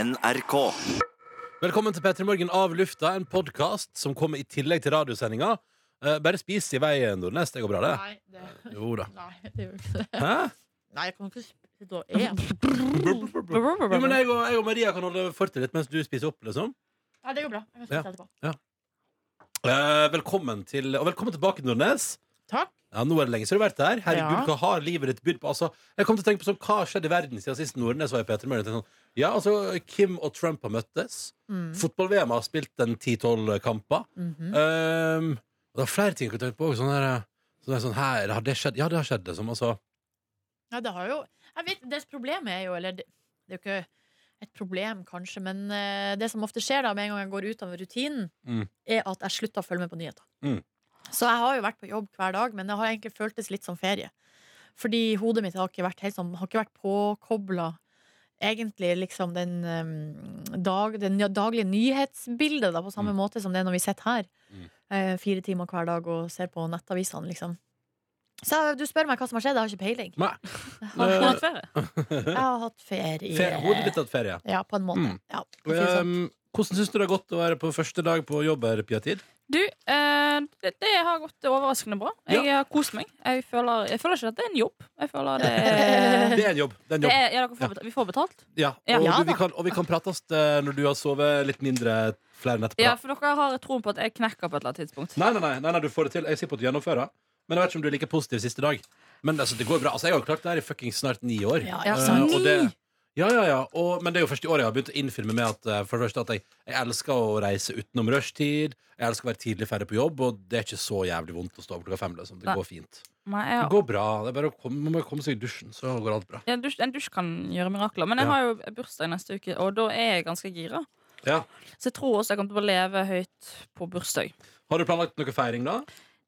NRK. Velkommen til P3 Morgen av lufta, en podkast som kommer i tillegg til radiosendinga. Eh, bare spis i vei, Nordnes. Det går bra, det? Nei, det, Jo da. nei, det gjør ikke det. Hæ? Nei, jeg kan ikke sitte og e. Jo, men jeg og, jeg og Maria kan holde fortet litt mens du spiser opp, liksom. Nei, det går bra. Jeg kan Ja. spise etterpå. Eh, velkommen til, og velkommen tilbake, Nordnes. Takk. Ja, Nå er det lenge siden du har vært der. Herregud, Ja. hva har livet ditt bydd på? Altså, jeg kom til å tenke på sånn, Hva har skjedd i verden siden sist Nordnes var i P3 Morgen? Jeg tenkte Sånn, ja, altså, Kim og Trump har møttes. Mm. Fotball-VM har spilt en 10-12 kamper. Mhm. Um, og det er flere ting jeg kunne tenkt på. Sånn der, sånn der, sånn, her, har det skjedd? Ja, det har skjedd. Liksom. Altså, Ja, det har jo Jeg vet, Deres problem er jo Eller det, det er jo ikke et problem, kanskje, men eh, det som ofte skjer da med en gang jeg går ut av rutinen, Mm. er at jeg slutter å følge med på nyheter. Mm. Så jeg har jo vært på jobb hver dag, men det har egentlig føltes litt som ferie. Fordi hodet mitt har ikke vært helt sånn Har ikke vært påkobla egentlig liksom den eh, dag, det n- daglige nyhetsbildet da, på samme Mm. måte som det er når vi sitter her. Mm. eh, fire timer hver dag og ser på nettavisene, liksom. Så du spør meg hva som har skjedd, jeg har ikke peiling. Nei. Jeg Eh, Har har du hatt ferie? jeg har hatt ferie. Eh, ferie, hodet ditt har hatt ferie. Ja, på en måte. Mm. Ja, for å si det sånn. Um, hvordan syns du det har gått å være på første dag på jobb her, Pia Tid? Du, eh, det, det har gått overraskende bra. Jeg har kost meg. Jeg føler, jeg føler ikke at det er en jobb. Jeg føler det er, Det er en jobb. Det er en det jobb. er, ja, dere får betalt, Vi får betalt. Ja. Ja. Og, Ja, du, vi da. kan, og vi kan prates eh, når du har sovet litt mindre flere netter på Ja, rad. For dere har troen på at jeg knekker på et eller annet tidspunkt. Nei, nei, nei, nei, nei, du får det til. Jeg er sikker på at du gjennomfører. Men jeg vet ikke om du er like positiv siste dag. Men altså, det går bra. Altså, jeg har jo klart det her i fuckings snart ni år. Ja, Ja, ikke Eh, sant? Ni! og det, ja, ja, ja. Og, men det er jo første året jeg har begynt å innfilme med at, eh, for det første at jeg, jeg elsker å reise utenom rushtid. Jeg elsker å være tidlig ferdig på jobb, og det er ikke så jævlig vondt å stå opp klokka fem. Liksom. Det Nei. går fint. Nei, jeg Det har, går bra. Det er bare å komme, man må komme seg i dusjen, så går alt bra. en, dusj, en dusj kan gjøre mirakler. Men jeg Ja. har jo bursdag neste uke, og da er jeg ganske gira. Ja. Så jeg tror også jeg kommer til å leve høyt på bursdag. Har du planlagt noe feiring, da?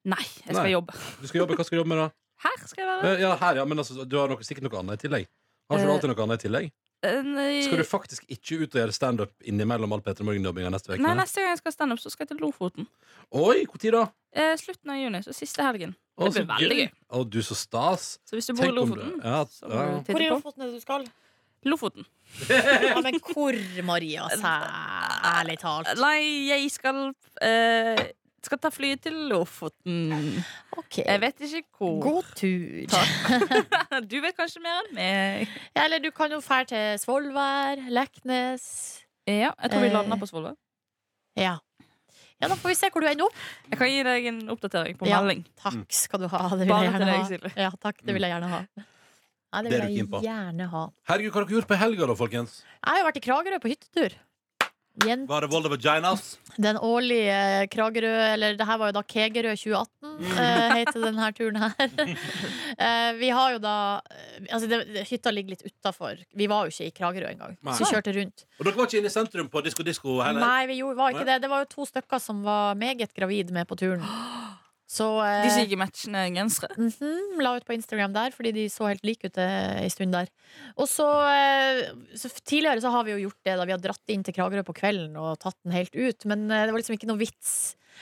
Nei, jeg skal Nei. jobbe. Du skal jobbe, Hva skal du jobbe med, da? Her skal jeg være. Eh, Ja, her, ja, men altså, Du har nok sikkert noe annet i tillegg. Har ikke du Eh. alltid noe annet i tillegg? Eh, Skal du faktisk ikke ut og gjøre standup innimellom all Peter Morgen-jobbinga neste uke? Nei, neste gang jeg skal standup, så skal jeg til Lofoten. Oi, når da? Eh, slutten av juni, så siste helgen. Å, Det blir så veldig gøy. Å, du, så stas. Så hvis du bor i Tenk om du Lofoten, ja, så må ja. du Hvor i titte på. Lofoten er det du skal? Lofoten. Ja, men hvor, Maria? Særlig talt. Nei, jeg skal eh, Skal ta flyet til Lofoten. Ok, Jeg vet ikke hvor. god tur. Takk. Du vet kanskje mer enn meg. Eller du kan jo dra til Svolvær, Leknes Ja, jeg tror vi Eh. lander på Svolvær. Ja. Ja, Da får vi se hvor du ender opp. Jeg kan gi deg en oppdatering på Ja. melding. Takk skal du ha. Det vil Bare jeg til gjerne deg, ha. Silje. Ja, takk, det vil jeg gjerne ha. Nei, Det det er vil du keen på. jeg gjerne ha. Herregud, hva har dere gjort på helga, da, folkens? Jeg har jo vært i Kragerø på hyttetur. Igjen Var det Volda Vaginas? Den årlige Kragerø, eller det her var jo da Kegerø 2018, eh, heter denne turen her. Eh, vi har jo da eh, Altså, det, det- hytta ligger litt utafor. Vi var jo ikke i Kragerø engang, Nei. så vi kjørte rundt. Og dere var ikke inne i sentrum på Disko Disko heller? Nei, vi gjorde, var ikke det. Det var jo to stykker som var meget gravide med på turen. Så De som eh, ikke matchende gensere. mhm, la ut på Instagram der, fordi de så helt like ut eh, en stund der. Og så, eh, så f- Tidligere så har vi jo gjort det, da vi har dratt inn til Kragerø på kvelden og tatt den helt ut. Men eh, det var liksom ikke noe vits.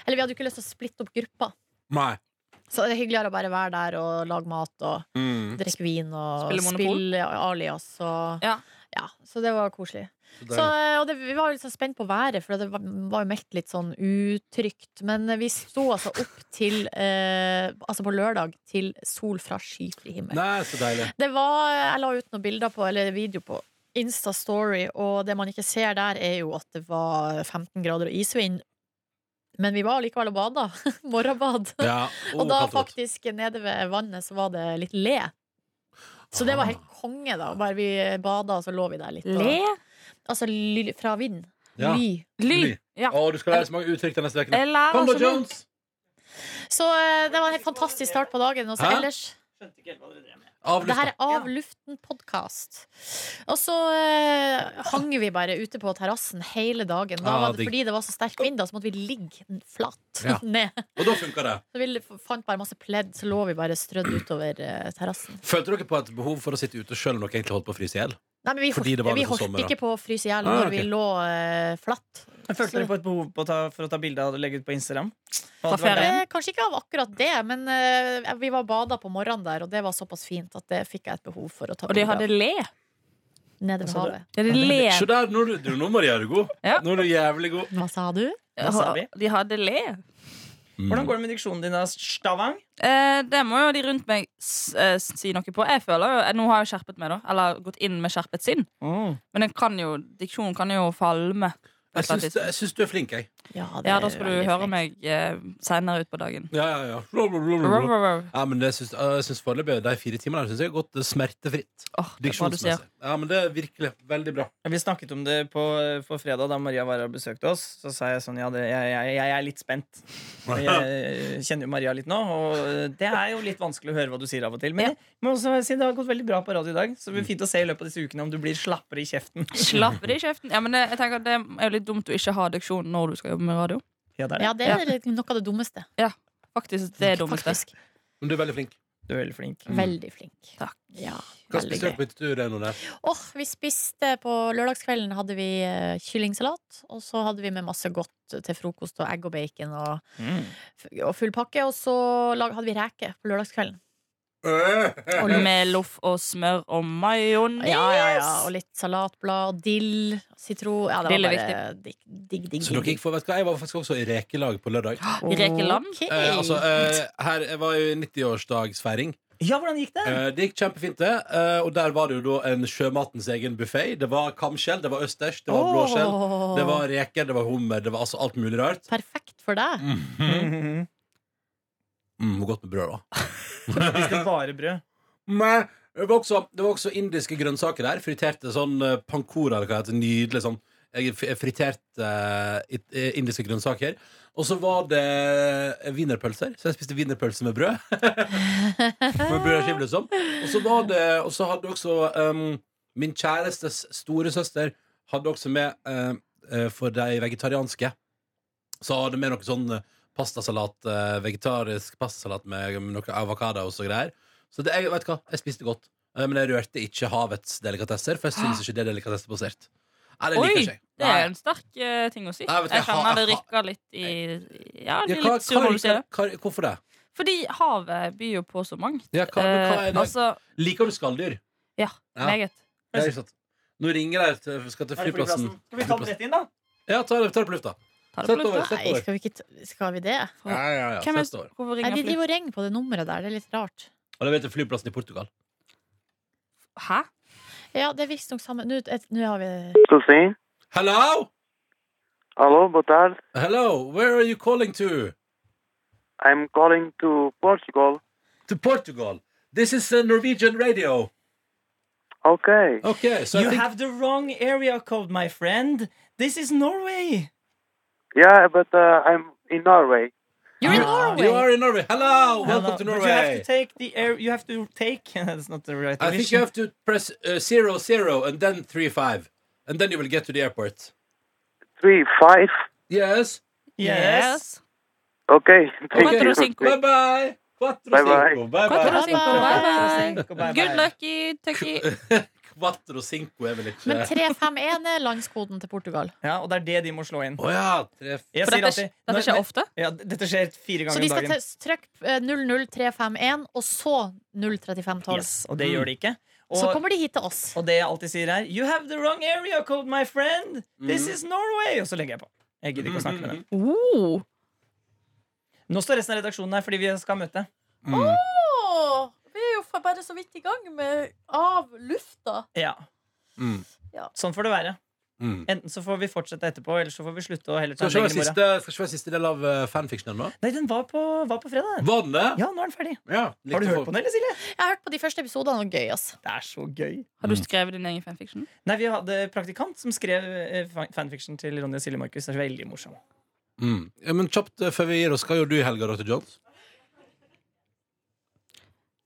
Eller vi hadde jo ikke lyst til å splitte opp gruppa. Nei. Så det er hyggeligere å bare være der og lage mat og Mm. drikke vin og Spille spille, Monopol. Alias og Ja. Ja, Så det var koselig. Så Så, deilig. eh, og det, vi var jo litt sånn spent på været, for det var, var jo meldt litt sånn utrygt. Men eh, vi sto altså opp til eh, Altså på lørdag til sol fra skyfri himmel. Nei, så deilig. Det var, jeg la ut noen bilder på, eller video på Insta-story, og det man ikke ser der, er jo at det var 15 grader og isvind. Men vi var likevel og bada. Morgenbad. Ja. Og oh, da kaldt og godt. faktisk nede ved vannet så var det litt le. Så Ah. det var helt konge, da. Bare vi bada, og så lå vi der litt. og- Altså ly, fra vind. Ja. Ly. Ly. Ly. Ja. Å, du skal lære så mange uttrykk til neste uke. Jeg lærer Conda så mye. Jones! Så eh, det var en helt fantastisk start på dagen. Og så Hæ? ellers Det her Avlyst. er Av luften-podkast. Og så eh, hang vi bare ute på terrassen hele dagen. Da Ah, var det digg. fordi det var så sterk vind, da, så måtte vi ligge flatt Ja. ned. Og da funka det. Så vi fant bare masse pledd, så lå vi bare strødd utover eh, terrassen. Følte dere på et behov for å sitte ute sjøl om dere egentlig holdt på å fryse i hjel? Nei, men vi Fordi det var holdt, vi liksom holdt sommer, da. ikke på å fryse i hjel Ah, når ok. vi lå eh, flatt. Jeg følte dere på et behov på å ta, for å ta bilde av det og legge ut på Instagram? Fra ferie. Eh, kanskje ikke av akkurat det, men eh, vi var bada på morgenen der, og det var såpass fint at det fikk jeg et behov for å ta Og de bilde av. hadde le. nede ved Hva sa du? havet. Ja, de Se ler. der, nå, er du- du, nå Maria, er du god. Ja. Nå er du jævlig god. Hva sa du? Wasabi. De hadde le. Hvordan går det med diksjonen din, da, Stavang? Eh, det må jo de rundt meg s eh, si noe på. Jeg føler jo, eh, Nå har jeg skjerpet meg, da. Eller gått inn med skjerpet sinn. Mm. Men den kan jo, diksjonen kan jo falme. på Jeg et eller annet syns, jeg syns du er Mm. flink, jeg. Ja, tidspunkt. Ja, da skal du høre meg eh, senere utpå dagen. Ja, ja, ja. Bla, bla, bla, bla, bla. Åh, Ja, men det syns, jeg syns foreløpig de fire timene her synes jeg har gått smertefritt. det er bra du sier. Diksjonsmessig. Ja, men det er virkelig veldig bra. Vi snakket om det på, på fredag, da Maria var her og besøkte oss. Så sa jeg sånn Ja, det, jeg, jeg, jeg er litt spent. Og Jeg kjenner jo Maria litt nå, og det er jo litt vanskelig å høre hva du sier av og til. Men jeg må også si det har gått veldig bra på radio i dag, så det blir fint å se i løpet av disse ukene om du blir slappere i kjeften. Slapp det i kjeften. Ja, men det, jeg tenker at det er jo litt dumt å ikke ha diksjon når du skal jobbe med radio. Ja, det er det. Ja, det er litt noe av det dummeste. Faktisk, det er dummeste. Faktisk. Men du er veldig flink. Du er veldig flink. Mm. Veldig flink. Takk. Ja, Hva veldig spiste gøy. dere på hyttetur? er det noe der? Åh, vi spiste på lørdagskvelden hadde vi eh, kyllingsalat, og så hadde vi med masse godt til frokost og egg og bacon og, Mm. og full pakke, og så lag, hadde vi reke på lørdagskvelden. Øh, Og med loff og smør og majones. Ja, ja, ja, og litt salatblad, og dill, sitron, ja, det Dill er var bare digg, digg, digg. Så dere gikk for, vet du hva, Jeg var faktisk også i rekelag på lørdag. I rekeland. Ok. Eh, altså, eh, her, jeg var jo i 90-årsdagsfeiring. Ja, hvordan gikk det? Eh, det gikk kjempefint, det. Eh, og der var det jo da en sjømatens egen buffé. Det var kamskjell, det var østers, det var blåskjell, Åh, det var reker, det var hummer, det var altså alt mulig rart. Perfekt for deg. Mhm. Mm, og godt med brød, da. Spiste bare brød. Men det var, også, det var også indiske grønnsaker der. Friterte sånn eh, pankora, eller hva det heter. Nydelig sånn. Jeg fr- friterte eh, it- eh, indiske grønnsaker. Og så var det wienerpølser, så jeg spiste wienerpølse med brød. med brødskive, liksom. Og så var det Og så hadde også em, min kjærestes storesøster hadde også med, eh, eh, for de vegetarianske, så hadde med noe sånn eh, pastasalat, eh, vegetarisk pastasalat med noe avokados og greier. Så det, jeg, vet du hva, jeg spiste godt. Eh, Men jeg rørte ikke havets delikatesser, for jeg syns ikke det er delikatessebasert. Nei, det liker Oi, ikke jeg. det er en sterk eh, ting å si. Nei, Jeg vet du, jeg har- kjenner det jeg har- rykker litt i Ja, Ja, det er hva- litt sur hva når du liker- sier det. hva- Hvorfor det? Fordi havet byr jo på så mangt. Ja, hva, men hva er Eh, det? altså, Liker du skalldyr? ja, Ja. meget. Det er ikke sant. Nå ringer jeg til, skal til Er det flyplassen. Skal vi ta den rett inn, da? Ja, ta det ta det på lufta. Ta det Sett på lufta. over. sett Nei, skal vi, ikke, t- skal vi det? Ja, ja, ja. Hvem er sett over. Hvorfor Nei, ringer de fly? driver og ringer på det nummeret der, det er litt rart. Og det vet jeg flyplassen i Portugal. Hæ? Ja, det er visstnok samme Nå et- nå har vi Estou sim. Hello? Alô, boa tarde. Hello, where are you calling to? I'm calling to Portugal. To Portugal. This is uh, Norwegian radio. Okay. Okay, so I You think... have the wrong area code, my friend. This is Norway. Yeah, but uh, I'm in Norway. You're in Ah, You- Norway! You are in Norway. Hello, welcome Hello. to But Norway. You have to take the air. You have to take. That's not the right. I think you have to press uh, zero zero and then three five, and then you will get to the airport. Three, five. Yes. Yes. Okay. Thank Quattro you. cinco. Bye bye. Quattro Bye bye. cinco. Bye Quattro bye. Bye-bye. cinco, bye-bye. Bye, bye. Good lucky, Tucky. Quattro cinco er vel ikke Men 351 er landskoden til Portugal. Ja, og det er det de må slå inn. Å ja. Tre... Jeg For dette, sier alltid- dette skjer Når- ofte. Ja, d- dette skjer Så fire ganger de om skal dagen. te- trykke eh, 00351, og så 03512. Yes, og det Mm. gjør de ikke. Så Og, kommer de hit til oss. og det jeg alltid sier, er You have the wrong area code, my friend. This Mm. is Norway. Og så legger jeg på. Jeg gidder ikke å snakke med dem. Oh. Mm-hmm. Nå står resten av redaksjonen her fordi vi skal ha møte. Mm, vi er jo bare så vidt i gang med av lufta. Ja. Mm. Ja. Sånn får det være. Mm. Enten så får vi fortsette etterpå, eller så får vi slutte. Og heller ta Skal ikke en være lenger morgen. siste, skal ikke være siste del av uh, fanfictionen nå? Nei, den var på, var på fredag. den. Var den det? Ja, nå er den ferdig. Ja, Har du hørt på den, eller, Silje? Jeg har hørt på de første episodene, og gøy, ass. Det er så gøy. Har du skrevet din egen fanfiction? Nei, Vi hadde praktikant som skrev eh, fan- fanfiction til Ronny og Silje Markus. Det er veldig morsom. Mm. Ja, men kjapt eh, før vi gir oss, hva gjør du i helga, Dr. Jones?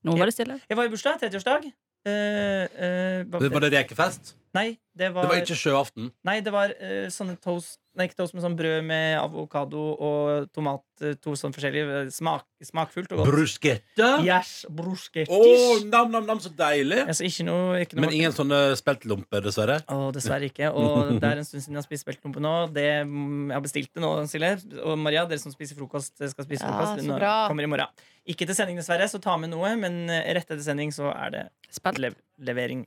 Nå var det stille. Jeg var i bursdag. 30-årsdag. Eh, eh, hva- Det- Var det rekefest? Nei, det var, Det var ikke sjøaften? nei, det var eh, sånne toast Nei, ikke toast, men sånn brød med avokado og tomat. eh, To sånn forskjellige eh, smak, Smakfullt og godt. Bruschetta? Å, Yes, bruskettis. nam, nam, nam, så deilig! Altså, ikke noe, ikke noe Men ingen sånne speltlomper, dessverre? Å, dessverre ikke. Og det er en stund siden jeg har spist beltlompe nå. Det, mm, jeg har bestilt det nå, Silje. Og Maria, dere som spiser frokost, eh, skal spise Ja, frokost. så Nå bra. kommer i morgen. Ikke til sending, dessverre, så ta med noe. Men eh, rett etter sending så er det Spelt. lev levering.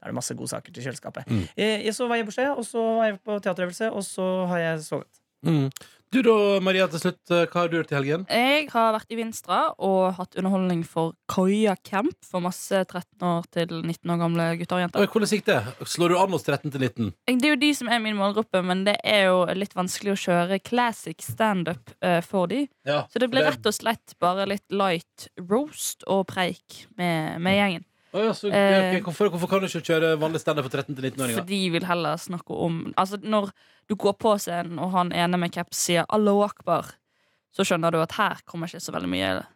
Da er det masse gode saker til kjøleskapet. Mm. Eh, Jeg, så var jeg i bursdag, og så var jeg på teaterøvelse, og så har jeg sovet. Mm. Du da, Maria, til slutt. eh, Hva har du gjort i helgen? Jeg har vært i Vinstra og hatt underholdning for Koya Camp for masse 13 år til 19 år gamle gutter og Oi, jenter. Hvordan gikk det? Slår du an hos 13 til 19? Det er jo de som er min målgruppe, men det er jo litt vanskelig å kjøre classic standup eh, for de. Ja, Så det ble rett og slett bare litt light roast og preik med, med Mm. gjengen. Å ja, så, Eh. ok, hvorfor, hvorfor kan du ikke kjøre vanlig standup for 13 til 19-åringer? For de vil heller snakke om Altså, når du går på scenen, og han ene med caps sier 'Allo akbar', så skjønner du at her kommer ikke så veldig mye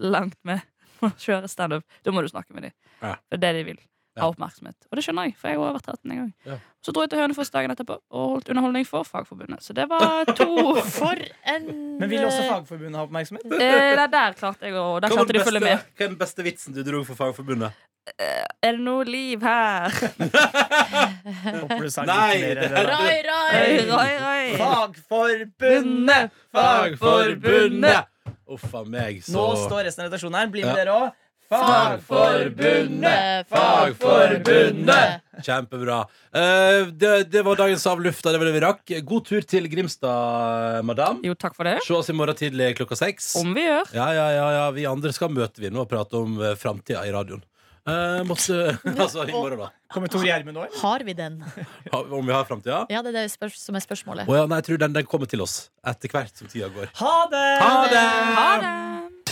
langt med å kjøre standup. Da må du snakke med dem. Ja. For det de vil. Ja. Ha oppmerksomhet. Og det skjønner jeg, for jeg har vært 13 en gang. Ja. Så dro jeg til Hønefoss dagen etterpå og holdt underholdning for Fagforbundet. Så det var to For en Men vil også eh, Fagforbundet ha oppmerksomhet? Eh, der, der klarte jeg å Der Hva var, klarte de den å følge med. beste, hva er den beste vitsen du dro for Fagforbundet? Er det noe liv her? Håper du sa Nei, litt det- mer. eller? eh, Rai, Oi, rai! oi, oi. Fagforbundet! Fagforbundet! Uff a meg, så Nå står resten av redaksjonen her. Bli med Ja. dere òg. Fagforbundet! Fagforbundet! Kjempebra. Eh, det, det var dagens Av lufta. Det var det vi rakk. God tur til Grimstad, madam. Jo, takk for det. Se oss i morgen tidlig klokka seks. Om vi gjør. Ja, ja, ja, ja. Vi andre skal møte vi nå og prate om eh, framtida i radioen. Eh, måtte, altså i morgen, da. Kommer Tor Gjermund òg? Har vi den? Ha- Om vi har framtida? Ja, det er det spørs- som er spørsmålet. Å ja, nei, jeg tror den, den kommer til oss etter hvert som tida går. Ha det! Ha det! Ha det!